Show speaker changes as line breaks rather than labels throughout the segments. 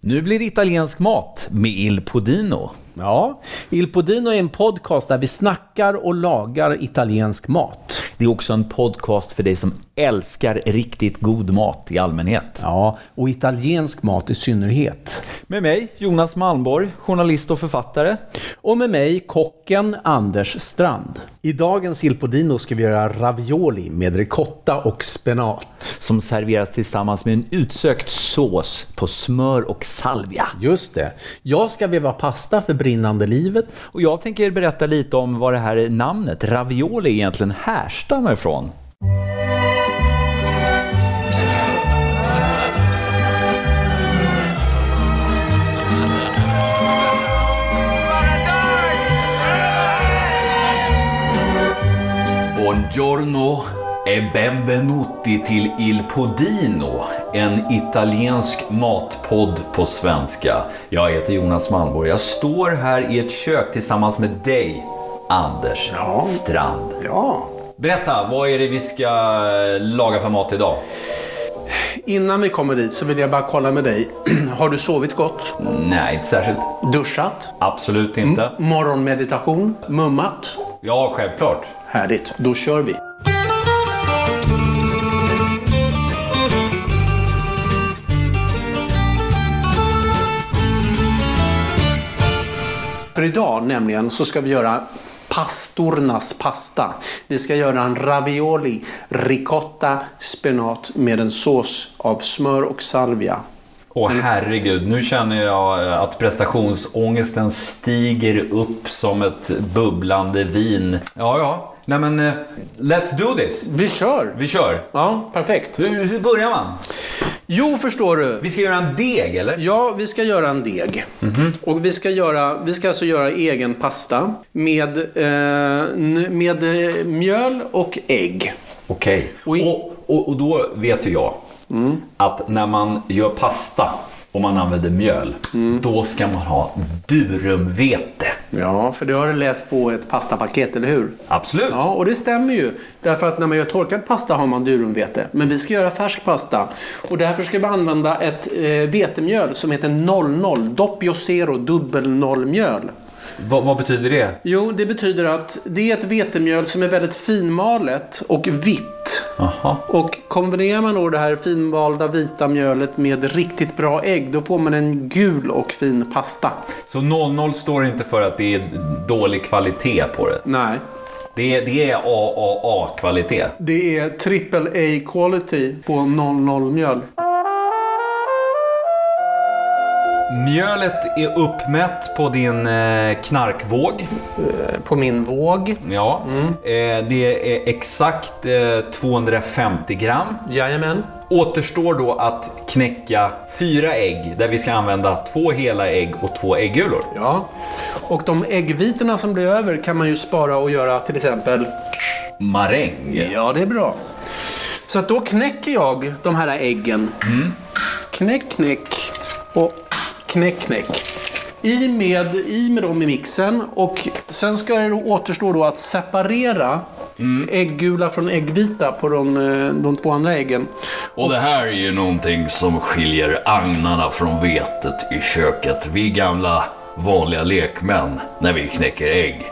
Nu blir det italiensk mat med Il Podino.
Ja, Il Podino är en podcast där vi snackar och lagar italiensk mat.
Det är också en podcast för dig som älskar riktigt god mat i allmänhet.
Ja, och italiensk mat i synnerhet.
Med mig, Jonas Malmborg, journalist och författare.
Och med mig, kocken Anders Strand. I dagens Il Podino ska vi göra ravioli med ricotta och spenat.
Som serveras tillsammans med en utsökt sås på smör och salvia.
Just det. Jag ska veva pasta för brinnande livet.
Och jag tänker berätta lite om vad det här namnet, ravioli, egentligen härstammar ifrån. Buongiorno e benvenuti till Il Podino, en italiensk matpodd på svenska. Jag heter Jonas Malmborg. Jag står här i ett kök tillsammans med dig, Anders Strand.
Ja.
Berätta, vad är det vi ska eh, laga för mat idag?
Innan vi kommer dit så vill jag bara kolla med dig. Har du sovit gott?
Nej, inte särskilt. Mm.
Duschat?
Absolut inte.
Morgonmeditation? Mummat?
Ja, självklart.
Härligt. Då kör vi. För idag nämligen så ska vi göra pastornas pasta. Vi ska göra en ravioli, ricotta, spenat med en sås av smör och salvia.
Åh herregud, nu känner jag eh, att prestationsångesten stiger upp som ett bubblande vin. Ja, ja. Nej men, eh, let's do this!
Vi kör!
Vi kör!
Ja, perfekt.
Hur, hur börjar man?
Jo, förstår du.
Vi ska göra en deg, eller?
Ja, vi ska göra en deg. Och vi ska, göra, vi ska alltså göra egen pasta med, eh, n- med eh, mjöl och ägg.
Okej.
Oj.
Och, och, och då vet ju jag att när man gör pasta och man använder mjöl, då ska man ha durumvete.
Ja, för det har du läst på ett pastapaket, eller hur?
Absolut!
Ja, och det stämmer ju. Därför att när man gör torkad pasta har man durumvete. Men vi ska göra färsk pasta. Och därför ska vi använda ett eh, vetemjöl som heter 00, Doppio Zero Dubbel noll mjöl.
Vad- vad betyder det?
Jo, det betyder att det är ett vetemjöl som är väldigt finmalet och vitt.
Jaha.
Och kombinerar man då det här finvalda vita mjölet med riktigt bra ägg, då får man en gul och fin pasta.
Så 00 står inte för att det är dålig kvalitet på det.
Nej.
Det är, det är AAA-kvalitet.
Det är triple A quality på 00 mjöl.
Mjölet är uppmätt på din eh, knarkvåg.
Eh, På min våg.
Ja. Eh, det är exakt eh, 250 gram.
Jajamän.
Återstår då att knäcka fyra ägg där vi ska använda två hela ägg och två äggulor.
Ja. Och de äggvitorna som blir över kan man ju spara och göra till exempel...
Maräng.
Ja, det är bra. Så att då knäcker jag de här äggen. Knäck, knäck och knäck, knäck. I med, I med dem i mixen och sen ska det då återstå då att separera ägggula från äggvita på de, eh, de två andra äggen.
Och det här är ju någonting som skiljer agnarna från vetet i köket. Vi gamla vanliga lekmän när vi knäcker ägg.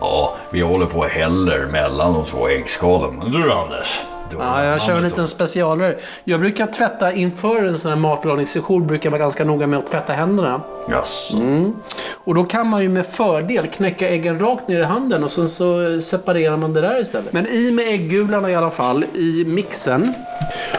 Ja, vi håller på och häller mellan de två äggskalen. Men du Anders? Du har
Ja,
en annan
jag kör en
metod.
liten specialare. Jag brukar tvätta inför en sån här matlagningssession, brukar jag vara ganska noga med att tvätta händerna.
Jaså?
Och då kan man ju med fördel knäcka äggen rakt ner i handen och sen så separerar man det där istället. Men i med äggularna i alla fall, i mixen.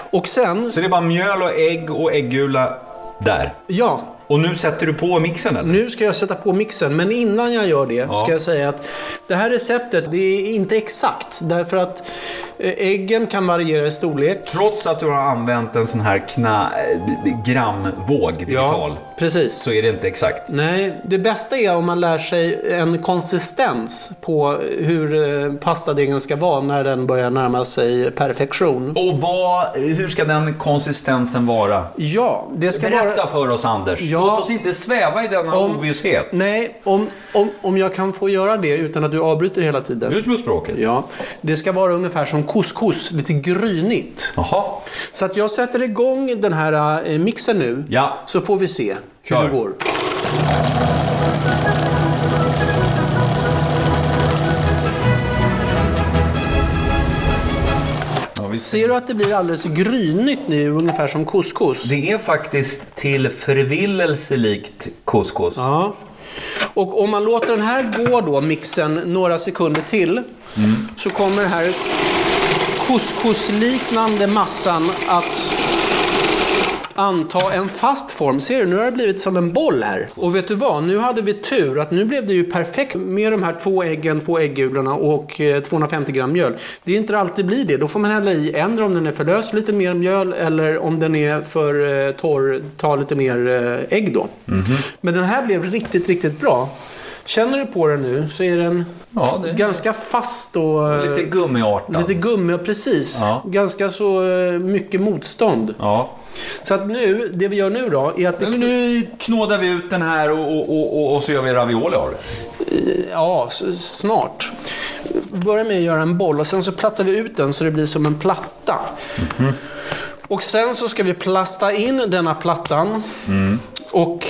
Och sen,
Så det är bara mjöl och ägg och äggula där.
ja,
Och nu sätter du på mixen eller?
nu ska jag sätta på mixen. Men innan jag gör det ska jag säga att det här receptet, det är inte exakt. Därför att eh, äggen kan variera i storlek.
Trots att du har använt en sån här kna, eh, gramvåg digital
precis.
så är det inte exakt.
Nej, det bästa är om man lär sig en konsistens på hur eh, pastadegen ska vara när den börjar närma sig perfektion.
Och vad, hur ska den konsistensen vara?
Ja, det ska vara...
Berätta för oss Anders.
Ja.
Låt oss inte sväva i denna
Om-
ovisshet.
Nej, om, om, om jag kan få göra det utan att du avbryter hela tiden.
Ut med språket.
Ja, det ska vara ungefär som couscous, lite grynigt.
Jaha.
Så att jag sätter igång den här eh, mixen nu,
Ja.
så får vi se
Kör.
hur det går.
Ja, visst.
Ser du att det blir alldeles grynigt nu, ungefär som couscous?
Det är faktiskt till förvillelse likt couscous.
Ja. Och om man låter den här gå då, mixen, några sekunder till, så kommer den här couscous-liknande massan att anta en fast form. Ser du, nu har det blivit som en boll här. Och vet du vad, nu hade vi tur att nu blev det ju perfekt med de här två äggen, två äggulorna och eh, 250 gram mjöl. Det är inte alltid blir det. Då får man hälla i ändra om den är för lös, lite mer mjöl eller om den är för eh, torr, ta lite mer eh, ägg då.
Mhm.
Men den här blev riktigt, riktigt bra. Känner du på den nu så är den
Ja, det är-
ganska fast och eh,
Lite gummiartad.
lite gummi, precis.
Ja.
Ganska så eh, mycket motstånd.
Ja.
Så att nu, det vi gör nu då, är att vi...
Men Nu knådar vi ut den här och, och, och, och, och så gör vi ravioli av det.
Ja, s- snart. Vi börjar med att göra en boll och sen så plattar vi ut den så det blir som en platta.
Mhm.
Och sen så ska vi plasta in denna plattan
Mm.
och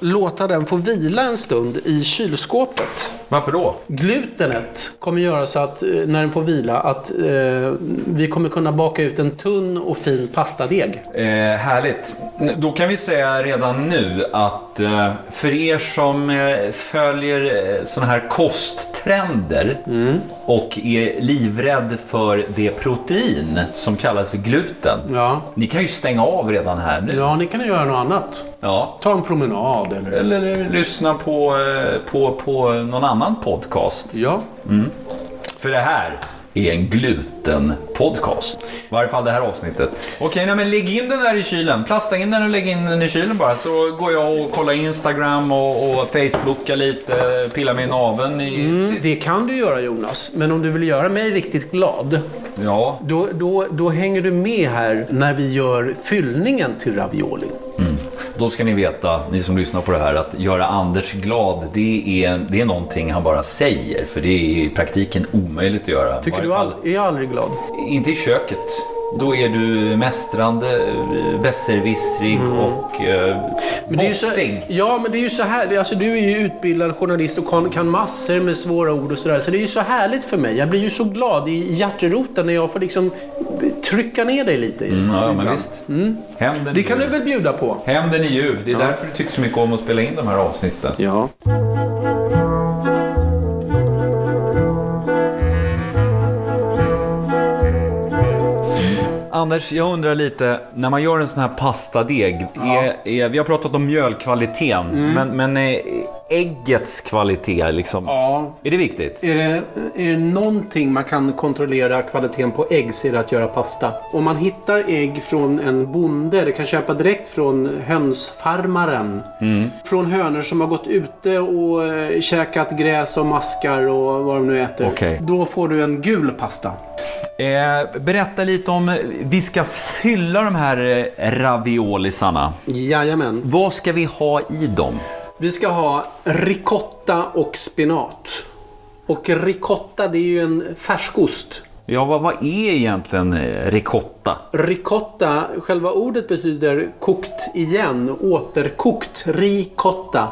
låta den få vila en stund i kylskåpet.
Varför då?
Glutenet kommer göra så att eh, när den får vila att eh, vi kommer kunna baka ut en tunn och fin pastadeg.
Eh, härligt. Då kan vi säga redan nu att eh, för er som eh, följer eh, såna här kosttrender
Mm.
och är livrädd för det protein som kallas för gluten.
Ja.
Ni kan ju stänga av redan här nu.
Ja, ni kan ju göra något annat.
Ja.
Ta en promenad eller...
Eller lyssna på, eh, på, på någon annan podcast.
Ja.
För det här är en glutenpodcast. I varje fall det här avsnittet. Okej, nej, men lägg in den där i kylen. Plasta in den och lägg in den i kylen bara. Så går jag och kollar Instagram och, och Facebookar lite, pillar med naveln i...
Mm, det kan du göra Jonas, men om du vill göra mig riktigt glad,
Ja.
då, då, då hänger du med här när vi gör fyllningen till ravioli.
Då ska ni veta, ni som lyssnar på det här, att göra Anders glad, det är, det är någonting han bara säger. För det är i praktiken omöjligt att göra.
Tycker
I
du
varje
all,
fall
är jag aldrig glad?
Inte i köket. Då är du mästrande, eh, besserwissrig och eh,
Men det är ju så,
bossig.
ja, men det är ju så här. det- Alltså, du är ju utbildad journalist och kan, kan massor med svåra ord och sådär. Så det är ju så härligt för mig. Jag blir ju så glad i hjärteroten när jag får liksom trycka ner dig lite.
Mm, ja,
ibland.
men visst. Hämnden
Det kan
är ljuv.
du väl bjuda på?
Hämnden är ljuv. Det är därför du tycker så mycket om att spela in de här avsnitten.
Ja.
Anders, jag undrar lite, när man gör en sån här pastadeg. Är, är, vi har pratat om mjölkvaliteten, men, men eh, äggets kvalitet, liksom.
ja.
Är det viktigt?
Är det, är det någonting man kan kontrollera kvaliteten på ägg så är det att göra pasta. Om man hittar ägg från en bonde, det kan köpa direkt från hönsfarmaren. Från hönor som har gått ute och eh, käkat gräs och maskar och vad de nu äter.
Okej.
Då får du en gul pasta.
Eh, berätta lite om, eh, vi ska fylla de här eh, raviolisarna.
Jajamän.
Vad ska vi ha i dem?
Vi ska ha ricotta och spenat. Och ricotta det är ju en färskost.
Ja, vad, vad är egentligen eh, ricotta?
Ricotta, själva ordet betyder kokt igen, återkokt, ricotta.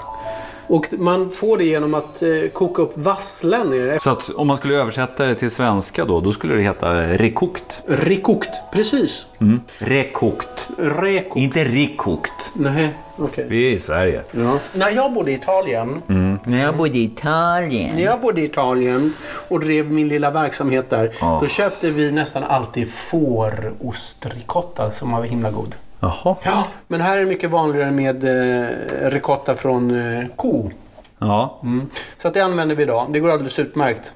Och man får det genom att eh, koka upp vasslen i det.
Så att om man skulle översätta det till svenska då, då skulle det heta eh, rekokt.
Rekokt, precis.
Rekokt.
Rekokt.
Inte rikokt.
Nej, okej.
Vi är i Sverige.
Ja. När jag bodde i Italien,
Mm. När jag bodde i Italien.
när jag bodde i Italien och drev min lilla verksamhet där,
Ja.
då köpte vi nästan alltid fårostricotta som var himla god.
Jaha.
Ja, men här är det mycket vanligare med eh, ricotta från eh, ko. Mm.
Ja.
Så att det använder vi idag. Det går alldeles utmärkt.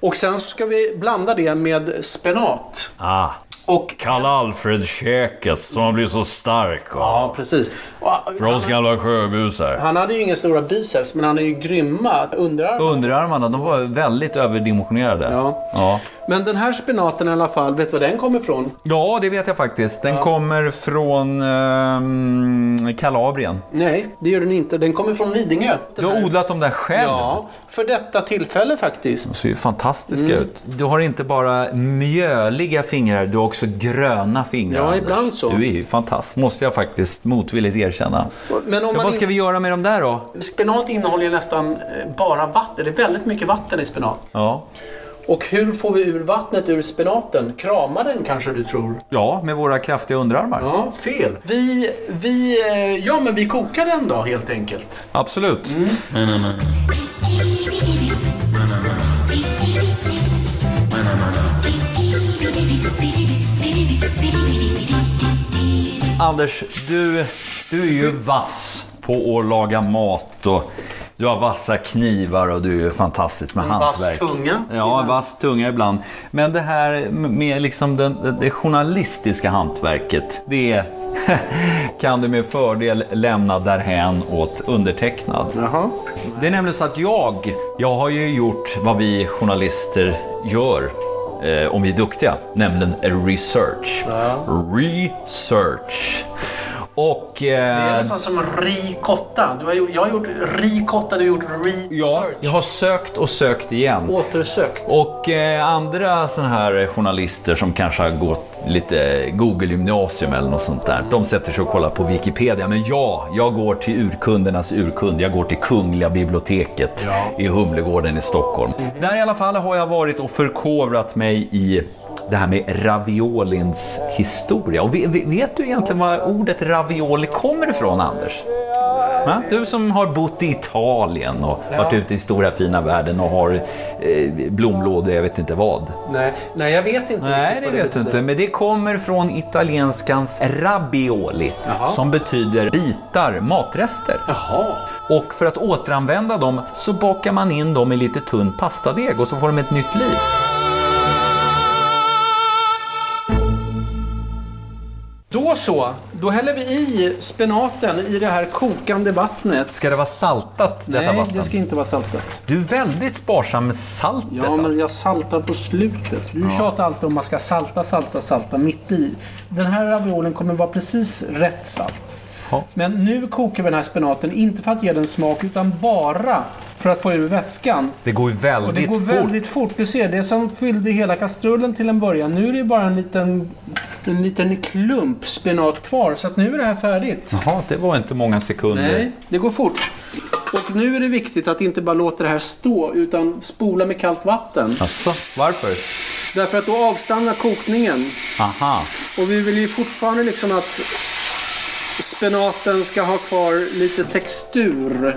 Och sen så ska vi blanda det med spenat.
Ah,
Och...
Kalle Alfred-käket som har blivit så stark av.
Ja, precis. Och, eh,
För oss gamla sjöbusar.
han hade ju inga stora biceps,
Oh.
men han är ju grymma underarmar.
Underarmarna, de var väldigt överdimensionerade.
Ja.
ja.
Men den här spenaten i alla fall, vet du var den kommer ifrån?
Ja, det vet jag faktiskt. Den kommer från ehm, Kalabrien.
Nej, det gör den inte. Den kommer från Lidingö.
Du har odlat dem där själv.
Ja, för detta tillfälle faktiskt.
De ser ju fantastiska
Mm.
ut. Du har inte bara mjöliga fingrar, du har också gröna fingrar.
Ja,
Anders.
ibland så.
Du är ju fantastisk, måste jag faktiskt motvilligt erkänna.
Men om
Men
man
vad ska vi göra med de där då?
Spenat innehåller ju nästan eh, bara vatten. Det är väldigt mycket vatten i spenat.
Ja.
Och hur får vi ur vattnet ur spenaten? Krama den kanske du tror?
ja, med våra kraftiga underarmar.
Ja, fel. Vi, vi, eh, ja men vi kokar den då helt enkelt. Mm.
Absolut. Anders, du, du är ju vass på att laga mat och du har vassa knivar och du är fantastisk med
vass
hantverk.
tunga.
Ja, vass tunga ibland. Men det här med liksom den, det journalistiska hantverket, det kan du med fördel lämna därhän åt undertecknad.
Jaha.
Det är nämligen så att jag, jag har ju gjort vad vi journalister gör eh, om vi är duktiga, nämligen research. Research. Och...
Det är
Eh,
nästan som ricotta. Du har gjort, jag har gjort ricotta, du har gjort
ja,
research.
jag har sökt och sökt igen.
Återsökt.
Och eh, andra såna här journalister som kanske har gått lite Google-gymnasium eller något sånt där, de sätter sig och kollar på Wikipedia. Men ja, jag går till urkundernas urkund. Jag går till Kungliga biblioteket i Humlegården i Stockholm. Där i alla fall har jag varit och förkovrat mig i det här med raviolins historia. Och ve- ve- vet du egentligen var ordet ravioli kommer ifrån, Anders? Va? Du som har bott i Italien och varit ute i stora fina världen och har eh, blomlådor, jag vet inte vad.
Nej, nej, jag vet inte.
Nej,
riktigt
det
vad
vet du inte. Men det kommer från italienskans rabioli,
Jaha.
som betyder bitar, matrester.
Jaha.
Och för att återanvända dem så bakar man in dem i lite tunn pastadeg och så får de ett nytt liv.
Då så, då häller vi i spenaten i det här kokande vattnet.
Ska det vara saltat, detta
Nej,
vatten?
det ska inte vara saltat.
Du är väldigt sparsam med saltet.
Ja, men jag saltar på slutet. Du tjatar alltid om man ska salta, salta, salta mitt i. Den här raviolen kommer vara precis rätt salt.
Ja.
Men nu kokar vi den här spenaten, inte för att ge den smak, utan bara för att få ur vätskan.
Det går ju
Och det
väldigt
går
fort.
väldigt fort. Du ser, det som fyllde hela kastrullen till en början. Nu är det bara en liten, en liten klump spenat kvar. Så att nu är det här färdigt.
Jaha, det var inte många sekunder.
Nej, det går fort. Och nu är det viktigt att inte bara låta det här stå, utan spola med kallt vatten.
Alltså, varför?
Därför att då avstannar kokningen.
Aha.
Och vi vill ju fortfarande liksom att spenaten ska ha kvar lite textur.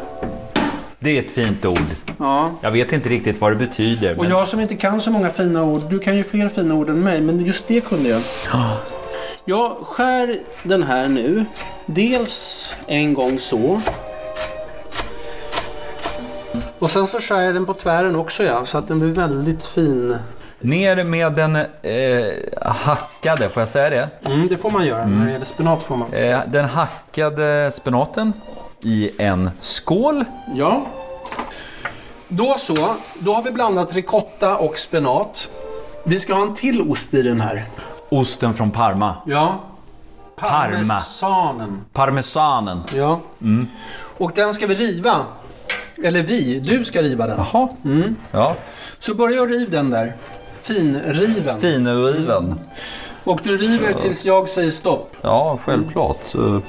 Det är ett fint ord.
Ja.
Jag vet inte riktigt vad det betyder.
Och
Men...
jag som inte kan så många fina ord, du kan ju fler fina ord än mig, men just det kunde jag. Jag skär den här nu. Dels en gång så. Och sen så skär jag den på tvären också ja, så att den blir väldigt fin.
Ner med den eh, hackade, får jag säga det?
Mm, det får man göra när det gäller spenat får man.
Eh, den hackade spenaten i en skål.
Ja. Då så, då har vi blandat ricotta och spenat. Vi ska ha en till ost i den här.
Osten från Parma.
Ja.
Parma.
Parmesanen.
Parmesanen.
Ja. Och den ska vi riva. Eller vi, du ska riva den.
Jaha. Ja.
Så börja och riv den där. Finriven.
Finuriven.
Och du river tills jag säger stopp.
Ja, självklart. Så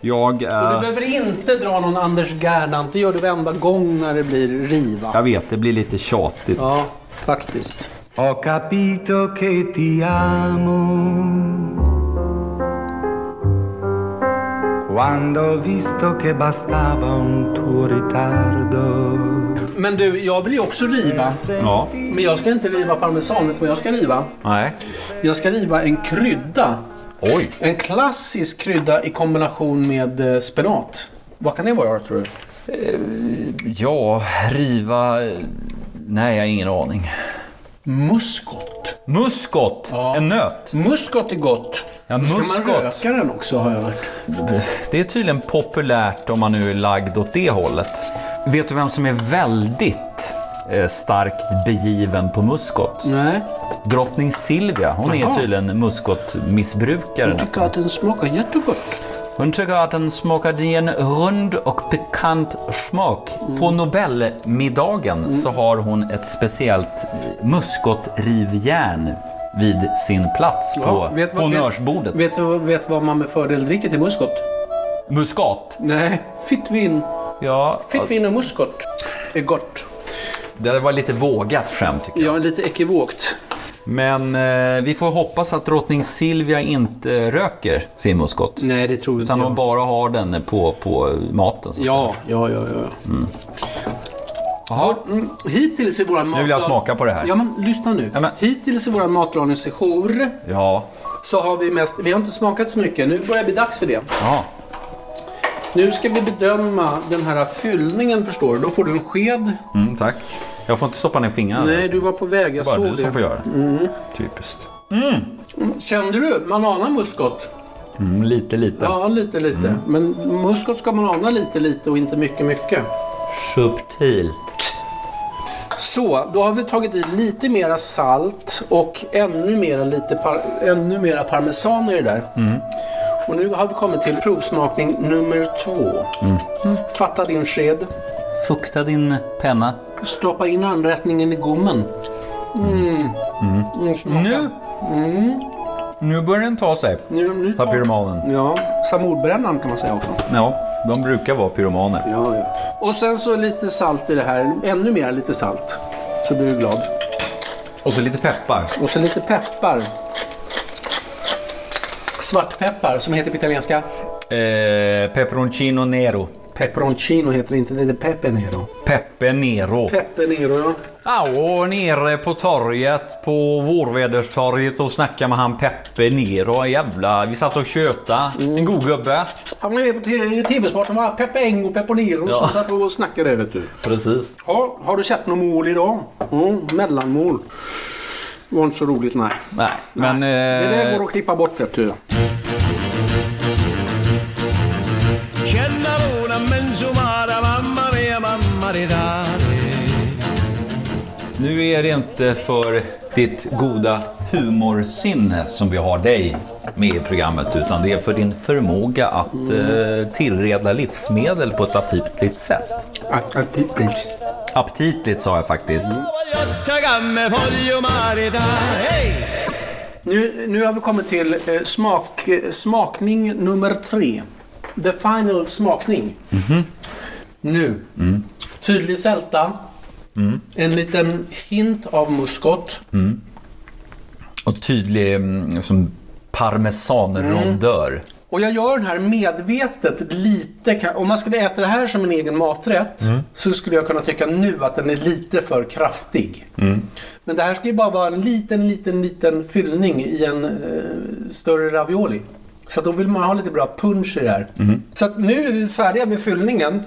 Jag
Och du
är...
behöver inte dra någon Anders Gernandt. Det gör du varenda gång när det blir riva.
Jag vet, det blir lite tjatigt.
Ja, faktiskt.
Ho capito che ti amo. Quando ho visto che bastava un tuo ritardo.
Men du, jag vill ju också riva.
Ja.
Men jag ska inte riva parmesan. Vet du vad jag ska riva?
Nej.
Jag ska riva en krydda.
Oj.
En klassisk krydda i kombination med eh, spenat. Vad kan det vara tror du?
Ja, riva... Nej, jag har ingen aning.
Muskot.
Muskot!
Ja.
En nöt.
Muskot är gott.
Ja,
Då Ska man
muskot.
röka den också har jag hört.
Det är tydligen populärt om man nu är lagd åt det hållet. Vet du vem som är väldigt eh, starkt begiven på muskot.
Nej.
Drottning Silvia, hon är
Mm. Jaha.
tydligen muskotmissbrukare
Jag tycker
nästan.
att den smakar jättegott.
Hon tycker att den smakade i en rund och pikant smak.
Mm.
På Nobelmiddagen så har hon ett speciellt eh, muskotrivjärn vid sin plats på
vet vad-
honnörsbordet.
Vet du vad- vet vad man med fördel dricker till muskot?
Muskat.
Nej, fittvin.
Ja,
Fittvin och muskot är gott.
det där var lite vågat skämt tycker jag.
Ja, lite ekivokt.
Men eh, vi får hoppas att drottning Silvia inte röker sin muskot.
Nej, det tror inte
Utan hon
jag.
bara har den på, på maten. Så Mm. att
Ja, ja, ja. ja.
säga. Jaha.
Mm, hittills i våran matlag...
vill jag smaka på det här.
Ja, men lyssna nu.
Ja, men-
Hittills i våran matlagningssejour
Ja.
så har vi mest... Vi har inte smakat så mycket. Nu börjar det bli dags för det.
ja.
Nu ska vi bedöma den här fyllningen, förstår du. Då får du en sked.
Mm, tack. Jag får inte stoppa ner fingrarna.
Nej, du var på väg. Jag
det är bara
såg
du
det.
som
Mm.
får göra det. Typiskt.
Kände du? Man anar muskot.
Mm, lite, lite. Mm.
Ja, lite, lite. Men muskot ska man ana lite, lite och inte mycket, mycket.
Subtilt.
Så, då har vi tagit i lite mera salt och ännu mera, lite par, ännu mera parmesan i det där.
Mm.
Och nu har vi kommit till provsmakning nummer två. Fatta din sked.
Mm. Fukta din penna.
Stoppa in anrättningen i gommen. Mm. Mm.
Nu! Nu börjar den ta sig.
Nu, nu
Ta pyromanen.
Ja, samordbrännaren kan man säga också.
Ja, de brukar vara pyromaner.
Ja, ja. Och sen så lite salt i det här. Ännu mer lite salt. Så blir du glad.
Och så lite peppar.
Och så lite peppar. Svartpeppar som heter på italienska.
Eh, peperoncino nero.
Peperoncino heter det inte, det heter pepe nero.
Peppe nero.
Pepe nero, ja.
Ja, och nere på torget, på Vårväderstorget och snackade med han Peppe Nero. Jävla, vi satt och tjöta. En god gubbe.
Han var med på t- TV-sporten va? Pepe Eng och Pepe Nero
Ja.
som satt och snackade vet du.
Precis.
Ja, har du sett något mål idag? Mm, mellanmål. Det var inte så roligt, nej.
Nej, men...
Det
eh,
där går att klippa bort vet du.
Nu är det inte för ditt goda humorsinne som vi har dig med i programmet utan det är för din förmåga att eh, tillreda livsmedel på ett aptitligt sätt. Aptitligt sa jag faktiskt.
Nu, nu har vi kommit till eh, smak, eh, smakning nummer tre. The final smakning. Nu. Tydlig sälta. En liten hint av muskot.
Och tydlig mm, som parmesanrondör.
Och jag gör den här medvetet lite... ka- Om man skulle äta det här som en egen maträtt så skulle jag kunna tycka nu att den är lite för kraftig. Men det här ska ju bara vara en liten, liten, liten fyllning i en eh, större ravioli. Så att då vill man ha lite bra punch i det här. Så att nu är vi färdiga med fyllningen.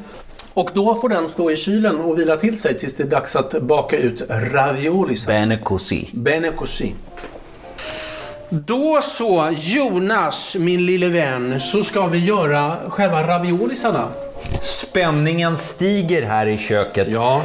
Och då får den stå i kylen och vila till sig tills det är dags att baka ut raviolis.
Bene così.
Bene così. Då så, Jonas, min lille vän, så ska vi göra själva raviolisarna.
Spänningen stiger här i köket.
Ja.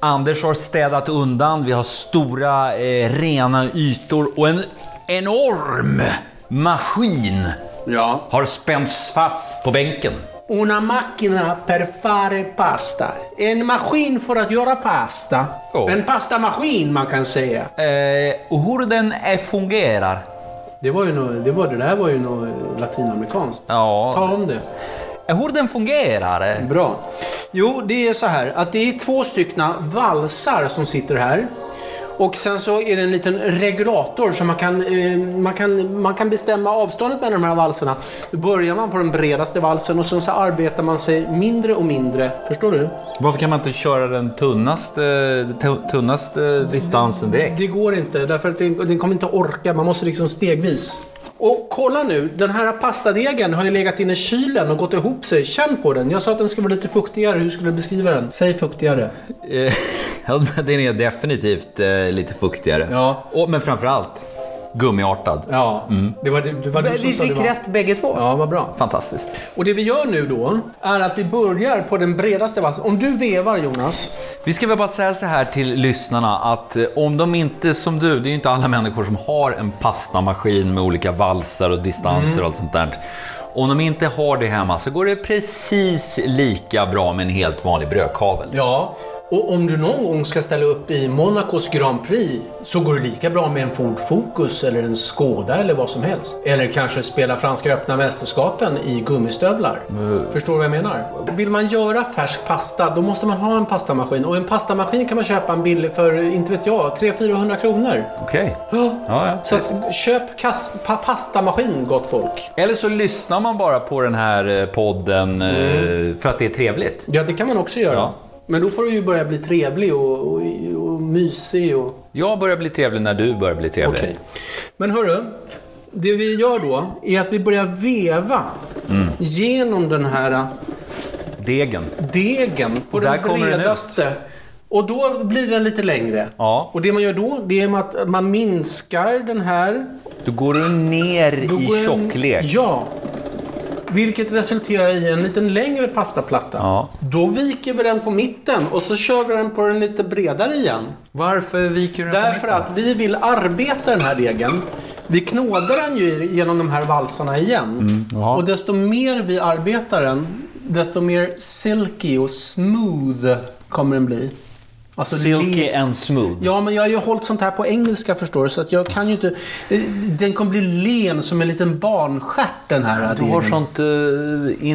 Anders har städat undan, vi har stora eh, rena ytor och en enorm maskin
Ja.
har spänts fast på bänken.
Una macchina per fare pasta. En maskin för att göra pasta.
Ja.
En pastamaskin, man kan säga.
Eh, hur den eh, fungerar?
Det, var ju nå, det, var, det där var ju något latinamerikanskt.
Ja.
Ta om det.
Eh, Hur den fungerar? eh?
Bra. Jo, det är så här att det är två styckna valsar som sitter här. Och sen så är det en liten regulator så man kan, eh, man kan, man kan bestämma avståndet mellan de här valserna. Då börjar man på den bredaste valsen och sen så arbetar man sig mindre och mindre. Förstår du?
Varför kan man inte köra den tunnaste, tu- tunnaste distansen direkt?
Det går inte, därför att den, den kommer inte orka. Man måste liksom stegvis. Och kolla nu, den här pastadegen har ju legat inne i kylen och gått ihop sig. Känn på den. Jag sa att den skulle vara lite fuktigare. Hur skulle du beskriva den? Säg fuktigare.
Eh, ja, men den är definitivt eh, lite fuktigare.
Ja.
Och, men framförallt, gummiartad.
Ja, det var, det var du som
Vi
sa det
fick
var...
rätt bägge två.
Ja, vad bra.
Fantastiskt.
Och det vi gör nu då är att vi börjar på den bredaste valsen. Om du vevar Jonas.
Vi ska väl bara säga så här till lyssnarna att eh, om de inte som du, det är ju inte alla människor som har en pastamaskin med olika valsar och distanser och allt sånt där. Om de inte har det hemma så går det precis lika bra med en helt vanlig brödkavel.
Ja. Och om du någon gång ska ställa upp i Monacos Grand Prix så går det lika bra med en Ford Focus eller en Skoda eller vad som helst. Eller kanske spela Franska öppna mästerskapen i gummistövlar. Förstår du vad jag menar? Vill man göra färsk pasta då måste man ha en pastamaskin. Och en pastamaskin kan man köpa en billig för, inte vet jag, 300-400 kronor.
Okej. Ja, ja.
Så att, köp kas- pa- pastamaskin gott folk.
Eller så lyssnar man bara på den här eh, podden eh,
Mm.
för att det är trevligt.
Ja, det kan man också göra.
Ja.
Men då får du ju börja bli trevlig och, och, och mysig. Och...
Jag börjar bli trevlig när du börjar bli trevlig.
Okej. Men hörru, det vi gör då är att vi börjar veva
Mm.
genom den här
Degen.
degen på
Och där
den
kommer den
bredaste. Och då blir den lite längre.
Ja.
Och det man gör då, det är att man minskar den här.
Då går du ner
Då
i
går den-
tjocklek.
Ja. Vilket resulterar i en liten längre pastaplatta.
Ja.
Då viker vi den på mitten och så kör vi den på den lite bredare igen.
Varför viker du den på
Därför
mitten?
att vi vill arbeta den här degen. Vi knådar den ju genom de här valsarna igen.
Mm,
och desto mer vi arbetar den, desto mer silky och smooth kommer den bli. Alltså
Silky
le-
and smooth.
Ja, men jag har ju hållit sånt här på engelska förstår du, så att jag kan ju inte... eh, Den kommer bli len som en liten barnstjärt den här
Du har sånt eh,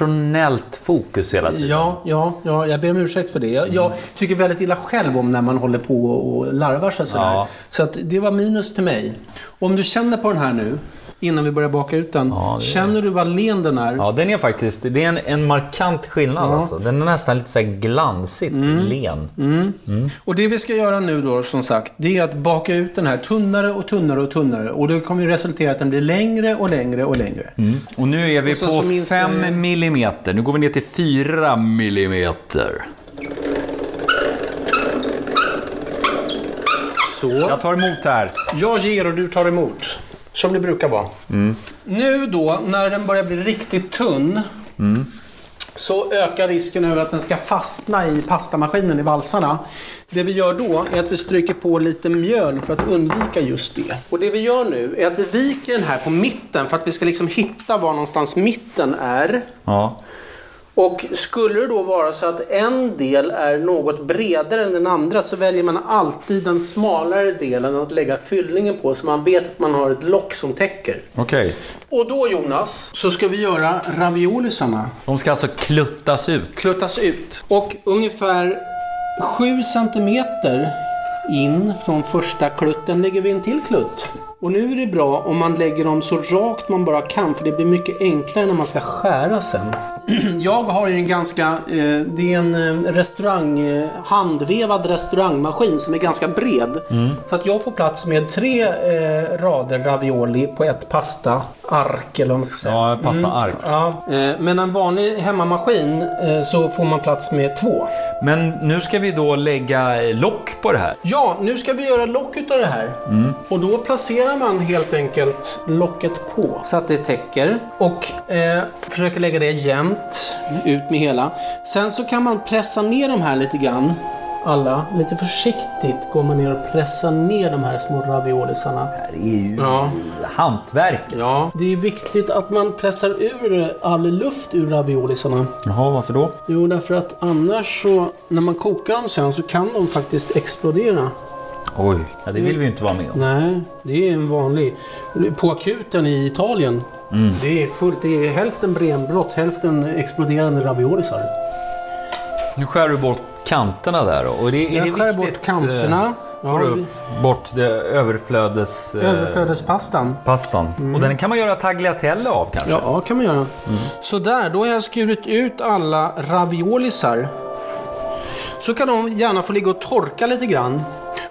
internationellt fokus hela tiden. Mm.
Ja, ja, ja, jag ber om ursäkt för det. Jag, jag tycker väldigt illa själv om när man håller på och larvar sig sådär.
Ja.
Så att det var minus till mig. Om du känner på den här nu, innan vi börjar baka ut den. känner du vad len den är?
Ja, den är faktiskt det är en, en markant skillnad. Alltså. Den är nästan lite så här glansigt
Mm.
len.
Och det vi ska göra nu då, som sagt, det är att baka ut den här tunnare och tunnare och tunnare. Och det kommer ju resultera i att den blir längre och längre och längre.
Och nu är vi
så-
på
så minskar
5
det-
millimeter. Nu går vi ner till 4 millimeter.
Så.
Jag tar emot här.
Jag ger och du tar emot. Som det brukar vara. Nu då, när den börjar bli riktigt tunn. Så ökar risken över att den ska fastna i pastamaskinen i valsarna. Det vi gör då är att vi stryker på lite mjöl för att undvika just det. Och det vi gör nu är att vi viker den här på mitten för att vi ska liksom hitta var någonstans mitten är.
Ja.
Och skulle det då vara så att en del är något bredare än den andra så väljer man alltid den smalare delen att lägga fyllningen på så man vet att man har ett lock som täcker.
Okej.
Och då Jonas, så ska vi göra raviolisarna.
De ska alltså kluttas ut.
Kluttas ut. Och ungefär 7 cm in från första klutten lägger vi en till klutt. Och nu är det bra om man lägger dem så rakt man bara kan för det blir mycket enklare när man ska skära sen. Jag har ju en ganska, eh, det är en eh, restaurang, eh, handvevad restaurangmaskin som är ganska bred. Så att jag får plats med tre eh, rader ravioli på ett pastaark eller vad man ska säga.
Ja, pastaark.
Ja, eh, men en vanlig hemmamaskin eh, så får man plats med två.
Men nu ska vi då lägga eh, lock på det här.
Ja, nu ska vi göra lock utav det här.
Mm.
Och då placerar man helt enkelt locket på så att det täcker. Och eh, försöker lägga det jämnt ut med hela. Sen så kan man pressa ner de här lite grann. Alla, lite försiktigt går man ner och pressar ner de här små raviolisarna.
Det är ju
Ja.
hantverk.
ja. Det är viktigt att man pressar ur all luft ur raviolisarna.
Jaha, varför då?
Jo, därför att annars så, när man kokar dem sen så kan de faktiskt explodera.
Oj, ja, det vill vi ju inte vara med om.
Nej, det är en vanlig. På akuten i Italien. Det är fullt. Det är hälften benbrott, hälften exploderande raviolisar.
Nu skär du bort kanterna där då. Och det, är det
Jag skär
viktigt,
bort kanterna.
eh,
Ja,
Får du
vi-
bort det överflödes... eh,
Överflödespastan.
pastan. Och den kan man göra tagliatelle av kanske.
Mm. Ja, ja, kan man göra. Så där, då har jag skurit ut alla raviolisar. Så kan de gärna få ligga och torka lite grann.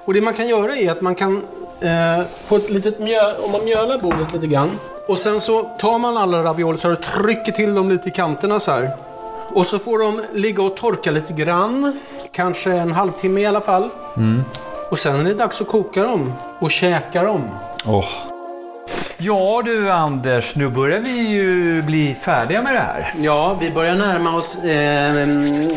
Och det man kan göra är att man kan, eh, på ett litet mjöl, om man mjölar bordet lite grann. Och sen så tar man alla raviolisar och trycker till dem lite i kanterna så här. Och så får de ligga och torka lite grann. Kanske en halvtimme i alla fall. Och sen är det dags att koka dem och käka dem.
Åh.
Ja du Anders, nu börjar vi ju bli färdiga med det här.
Ja, vi börjar närma oss eh,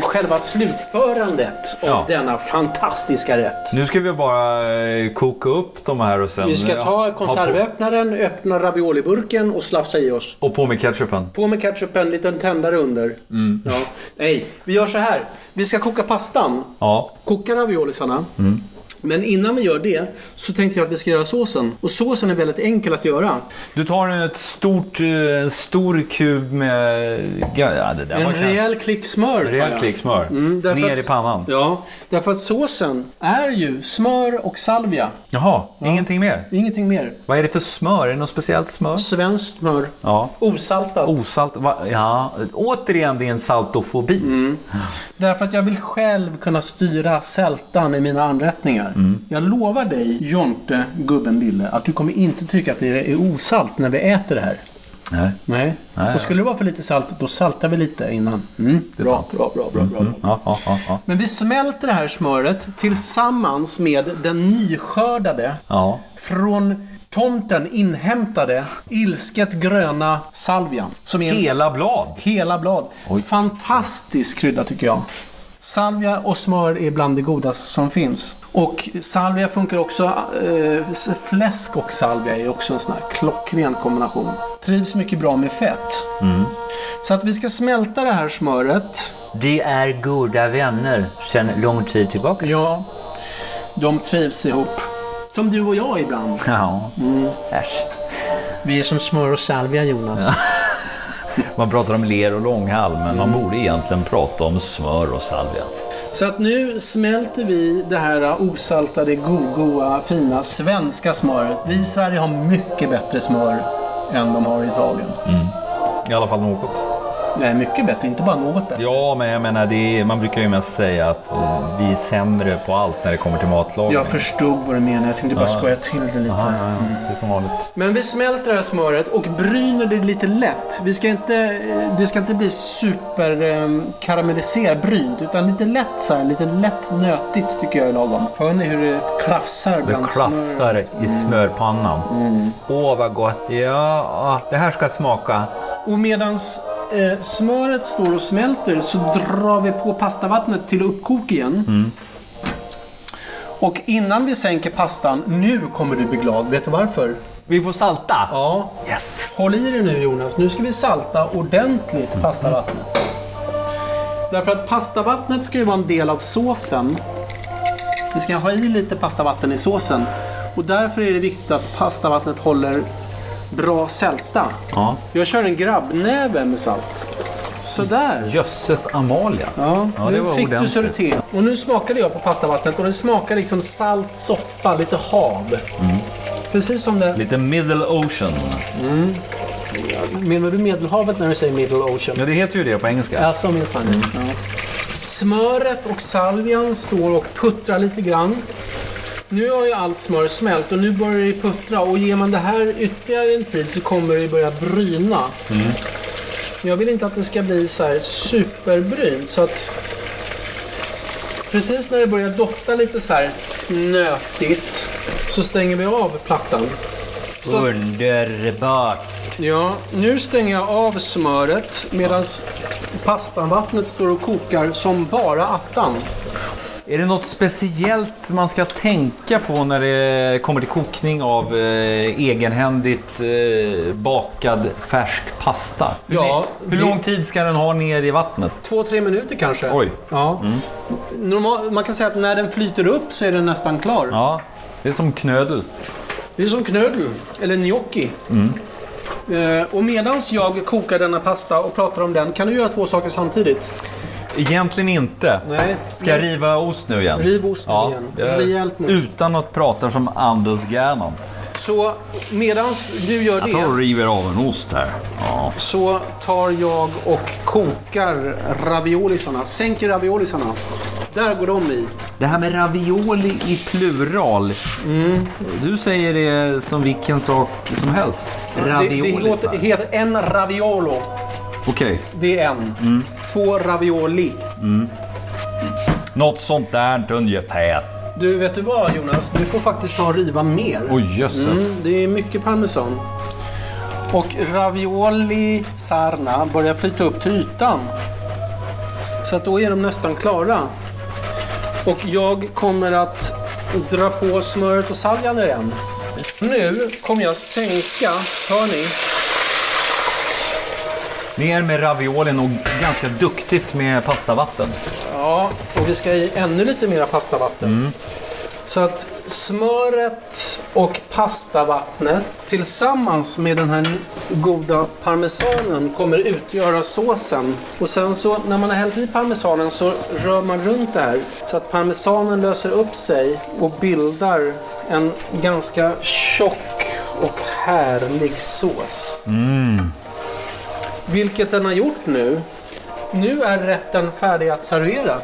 själva slutförandet av
Ja.
denna fantastiska rätt.
Nu ska vi bara eh, koka upp de här och sen...
Vi ska
ja,
ta
ha på-
konservöppnaren, öppna ravioliburken och slafsa i oss.
Och på med ketchupen.
På med ketchupen, liten tändare under.
Mm.
Ja. Nej, vi gör så här. Vi ska koka pastan.
Ja.
Koka raviolisarna.
Mm.
Men innan vi gör det så tänkte jag att vi ska göra såsen. Och såsen är väldigt enkel att göra.
Du tar nu ett stort, eh, en stor kub med... Ja, ja, det där var
En
kanske-
rejäl klick smör. tar
rejäl
jag.
klick smör.
Mm, därför
Ner
att-
i pannan.
Ja, därför att såsen är ju smör och salvia.
Jaha, ingenting mer?
Ingenting mer.
Vad är det för smör? Är det något speciellt smör?
Svenskt smör.
Ja.
Osaltat.
Osalt? Va? Ja. Återigen, det är en saltofobi.
Därför att jag vill själv kunna styra sältan i mina anrättningar.
Mm.
Jag lovar dig, Jonte, gubben lille, att du kommer inte tycka att det är osalt när vi äter det här.
Nej.
Nej.
Nej.
Och skulle det vara för lite salt, då saltar vi lite innan. Mm.
Det är
bra,
sant. Mm,
bra, bra, bra, bra.
Ja, ja, ja, ja.
Men vi smälter det här smöret tillsammans med den nyskördade,
ja.
från tomten inhämtade, ilsket gröna salvian. Som är en
Hela blad.
Hela blad. Fantastisk krydda tycker jag. Salvia och smör är bland det godaste som finns. Och salvia funkar också. Eh, s- fläsk och salvia är också en sån här klockren kombination. Trivs mycket bra med fett. Så att vi ska smälta det här smöret.
De är goda vänner sedan lång tid tillbaka.
Ja, de trivs ihop. Som du och jag ibland.
Ja.
Äsch.
Vi är som smör och salvia Jonas.
Man pratar om ler och långhalm, men man
Mm.
borde egentligen prata om smör och salvia.
Så att nu smälter vi det här äh, osaltade, godgoa, fina svenska smöret. Vi i Sverige har mycket bättre smör än de har i Italien.
I alla fall något.
Nej, mycket bättre, inte bara något bättre.
Ja, men jag menar, det är, man brukar ju mest säga att eh, vi är sämre på allt när det kommer till matlagning.
Jag förstod vad du menade, jag tänkte bara skoja till det lite.
Ja, ja, ja. Det är som vanligt.
Men vi smälter det här smöret och bryner det lite lätt. Vi ska inte, eh, det ska inte bli super eh, karamelliserat brynt, utan lite lätt så här, lite lätt nötigt tycker jag är lagom. Hör ni hur det klafsar
Det
bland smöret?
klafsar i smörpannan. Åh, vad gott. Ja, det här ska smaka.
Och medans eh, smöret står och smälter så drar vi på pastavattnet till uppkok igen. Och innan vi sänker pastan, nu kommer du bli glad. Vet du varför?
Vi får salta.
Ja.
Yes.
Håll i dig nu Jonas. Nu ska vi salta ordentligt pastavattnet. Därför att pastavattnet ska ju vara en del av såsen. Vi ska ha i lite pastavatten i såsen. Och därför är det viktigt att pastavattnet håller bra sälta.
Ja.
Jag kör en grabbnäve med salt. Sådär.
Jösses Amalia.
Ja,
Ja, det
nu
var
fick du
ordentligt.
så det till. Och nu smakade jag på pastavattnet och det smakar liksom salt soppa, lite hav.
Mm.
Precis som det...
Lite middle ocean.
Menar du Medelhavet när du säger Middle Ocean?
Ja, det heter ju det på engelska.
Ja, som minsann. Ja. Smöret och salvian står och puttrar lite grann. Nu har ju allt smör smält och nu börjar det puttra och ger man det här ytterligare en tid så kommer det börja bryna. Jag vill inte att det ska bli så här superbrynt så att precis när det börjar dofta lite så här nötigt så stänger vi av plattan. Så-
Underbart.
Ja, nu stänger jag av smöret medan pastavattnet står och kokar som bara attan.
Är det något speciellt man ska tänka på när det kommer till kokning av eh, egenhändigt eh, bakad färsk pasta? Hur,
Ja,
hur
det-
lång tid ska den ha ner i vattnet?
Två, tre minuter kanske.
Oj. Mm.
Ja. Normal, man kan säga att när den flyter upp så är den nästan klar.
Ja, det är som knödel.
Det är som knödel, eller gnocchi.
Mm.
Eh, och medan jag kokar denna pasta och pratar om den, kan du göra två saker samtidigt?
Egentligen inte.
Nej.
Ska jag riva ost nu igen?
Riv osten
Ja,
igen.
jag-
Rejält nu.
Utan att prata som Anders Gernandt.
Så medan du gör det...
Jag tar och river av en ost här. Ja.
Så tar jag och kokar raviolisarna, sänker raviolisarna. Där går de i.
Det här med ravioli i plural. Du säger det som vilken sak som helst.
Det, det låter,
Raviolisar.
heter en raviolo,
Okej.
det är en. Två ravioli.
Något sånt där ungefär.
Du, vet du vad Jonas? Du får faktiskt ta och riva mer.
Oj jösses.
Mm, det är mycket parmesan. Och ravioli sarna börjar flyta upp till ytan. Så att då är de nästan klara. Och jag kommer att dra på smöret och saljan igen. Nu kommer jag sänka, hör ni?
Ner med raviolen och ganska duktigt med pastavatten.
Ja, och vi ska i ännu lite mera pastavatten. Så att smöret och pastavattnet tillsammans med den här goda parmesanen kommer utgöra såsen. Och sen så när man har hällt i parmesanen så rör man runt det här så att parmesanen löser upp sig och bildar en ganska tjock och härlig sås. Vilket den har gjort nu. Nu är rätten färdig att servera.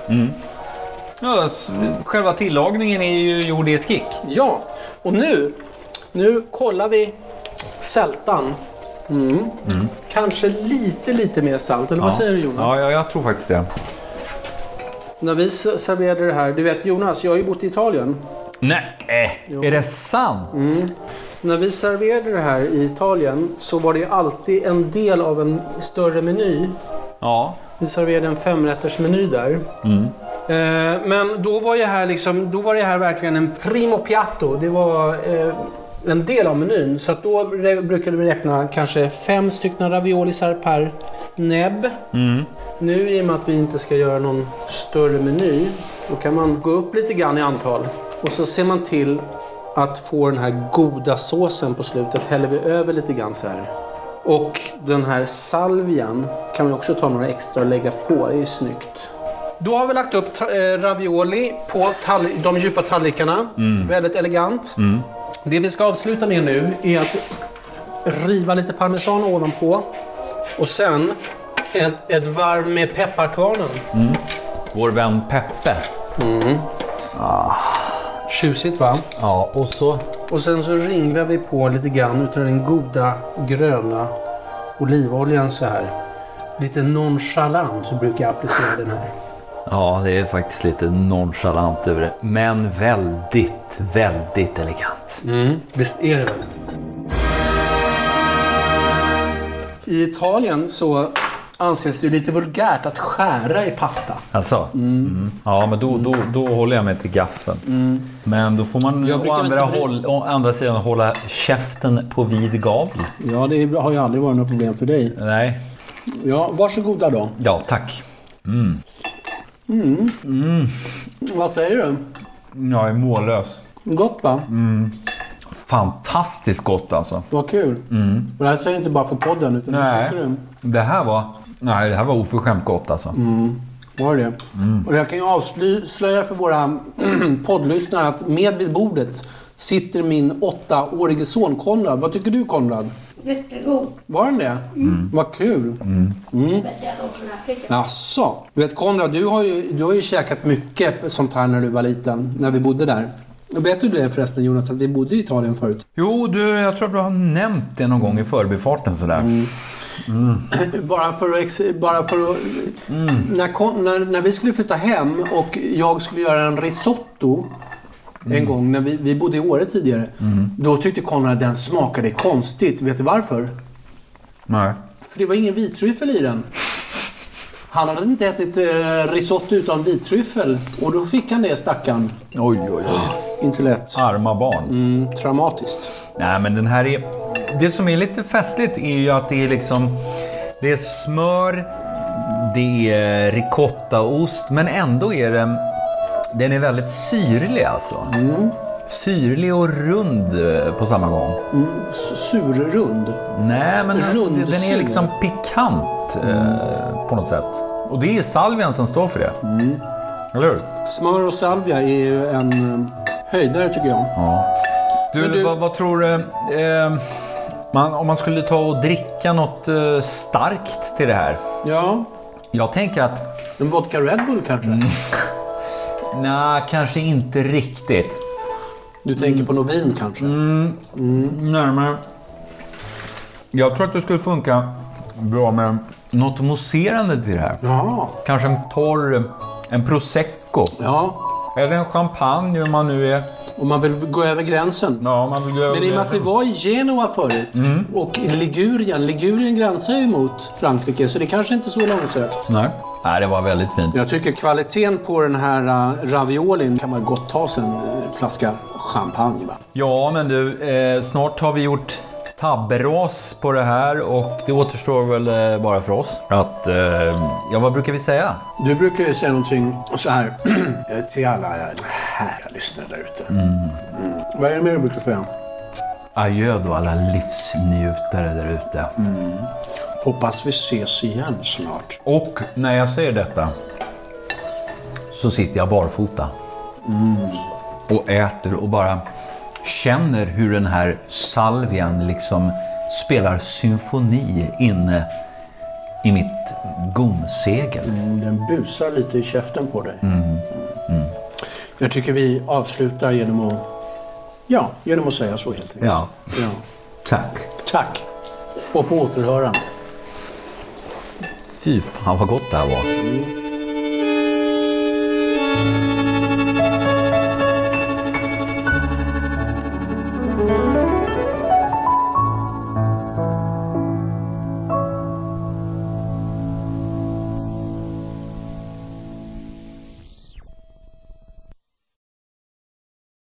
Ja, s- själva tillagningen är ju gjord i ett kick.
Ja, och nu, nu kollar vi sältan. Mm. Kanske lite, lite mer salt, eller vad säger du Jonas?
Mm. Ja, ja, jag tror faktiskt det.
När vi s- serverade det här, du vet Jonas, jag har ju bott i Italien.
Nej, Äh, är det sant?
När vi serverade det här i Italien så var det alltid en del av en större meny.
Ja.
Vi serverade en femrättersmeny där. Eh, men då var, ju här liksom, då var det här verkligen en primo piatto. Det var eh, en del av menyn. Så att då re- brukade vi räkna kanske fem stycken raviolisar per näbb. Nu i och med att vi inte ska göra någon större meny, då kan man gå upp lite grann i antal. Och så ser man till att få den här goda såsen på slutet. Häller vi över lite grann så här. Och den här salvian kan vi också ta några extra och lägga på. Det är ju snyggt. Då har vi lagt upp tra- eh, ravioli på tall- de djupa tallrikarna. Väldigt elegant. Det vi ska avsluta med nu är att riva lite parmesan ovanpå. Och sen ett, ett varv med pepparkvarnen.
Mm.
Mm.
Vår vän Peppe. Ah.
Tjusigt va?
Ja, och så?
Och sen så ringlar vi på lite grann utav den goda gröna olivoljan så här. Lite nonchalant så brukar jag applicera den här.
Ja, det är faktiskt lite nonchalant över det. Men väldigt, väldigt elegant.
Visst är det väl? I Italien så anses det ju lite vulgärt att skära i pasta.
Alltså? Mm. Ja, men då, då, då håller jag mig till gaffeln. Men då får man
Jag
å
brukar
andra,
inte bry-
håll, å andra sidan hålla käften på vid gavel.
Ja, det har ju aldrig varit något problem för dig.
Nej.
Ja, varsågoda då.
Ja, tack.
Vad säger du?
Jag är mållös.
Gott va?
Fantastiskt gott alltså.
Vad kul. Och det här säger jag inte bara för podden utan
Nej.
vad tycker du?
Det här var... Nej, det här var oförskämt gott alltså.
Var det Och jag kan ju avslöja för våra poddlyssnare att med vid bordet sitter min åttaårige son Konrad. Vad tycker du Konrad?
Jättegod.
Var den det? Vad kul.
Bästa jag någonsin har ätit.
Jaså? Du vet Konrad, du har, ju, du har ju käkat mycket sånt här när du var liten, när vi bodde där. Och Vet du det förresten Jonas, att vi bodde i Italien förut?
Jo, du, jag tror att du har nämnt det någon gång i förbifarten sådär.
Bara för att... Ex- bara för att när, Kon- när, när vi skulle flytta hem och jag skulle göra en risotto en gång, när vi, vi bodde i Åre tidigare, då tyckte Konrad att den smakade konstigt. Vet du varför?
Nej.
För det var ingen vitryffel i den. Han hade inte ätit eh, risotto utan vitryffel och då fick han det stackarn.
Oj, oj, oj.
Inte lätt.
Arma barn.
Mm, traumatiskt.
Nej, men den här är... Det som är lite festligt är ju att det är liksom... Det är smör, det är ricottaost, men ändå är den... Den är väldigt syrlig alltså. Syrlig och rund eh, på samma gång.
S- Surrund.
Nej, men alltså, det- den
Rundsyr.
är liksom pikant eh, på något sätt. Och det är salvian som står för det. Eller hur?
Smör och salvia är ju en eh, höjdare tycker jag.
Du,
Men du-
Vad, vad tror du? Eh, man, om man skulle ta och dricka något eh, starkt till det här?
Ja,
Jag tänker att
en vodka Red Bull kanske?
nej, kanske inte riktigt.
Du tänker
Mm.
på något vin kanske?
Närmare. Jag tror att det skulle funka bra med något mousserande till det här.
Jaha.
Kanske en torr, en prosecco.
Ja,
Eller en champagne om man nu är...
Om man vill gå över gränsen.
Ja, om man vill gå över
Men i och med att vi
gränsen. Mm.
var i Genua förut och i Ligurien. Ligurien gränsar ju mot Frankrike så det kanske inte är så långsökt.
Nej.
Nej, det var väldigt fint.
Jag tycker kvaliteten på den här äh, raviolin kan man gott ta sig en eh, flaska champagne. Va?
Ja, men du, eh, snart har vi gjort tabberas på det här och det återstår väl eh, bara för oss att... Eh, ja, vad brukar vi säga?
Du brukar ju säga någonting så här eh, till alla här lyssnare där ute. Mm. Vad är det mer du brukar säga?
Adjö då alla livsnjutare där ute.
Hoppas vi ses igen snart.
Och när jag säger detta så sitter jag barfota. Mm. Och äter och bara känner hur den här salvian liksom spelar symfoni inne i mitt gomsegel.
Den busar lite i käften på dig.
Mm.
Jag tycker vi avslutar genom att, ja, genom att säga så helt enkelt.
Ja,
Ja.
tack.
Tack och på återhörande.
Fy fan vad gott det här var.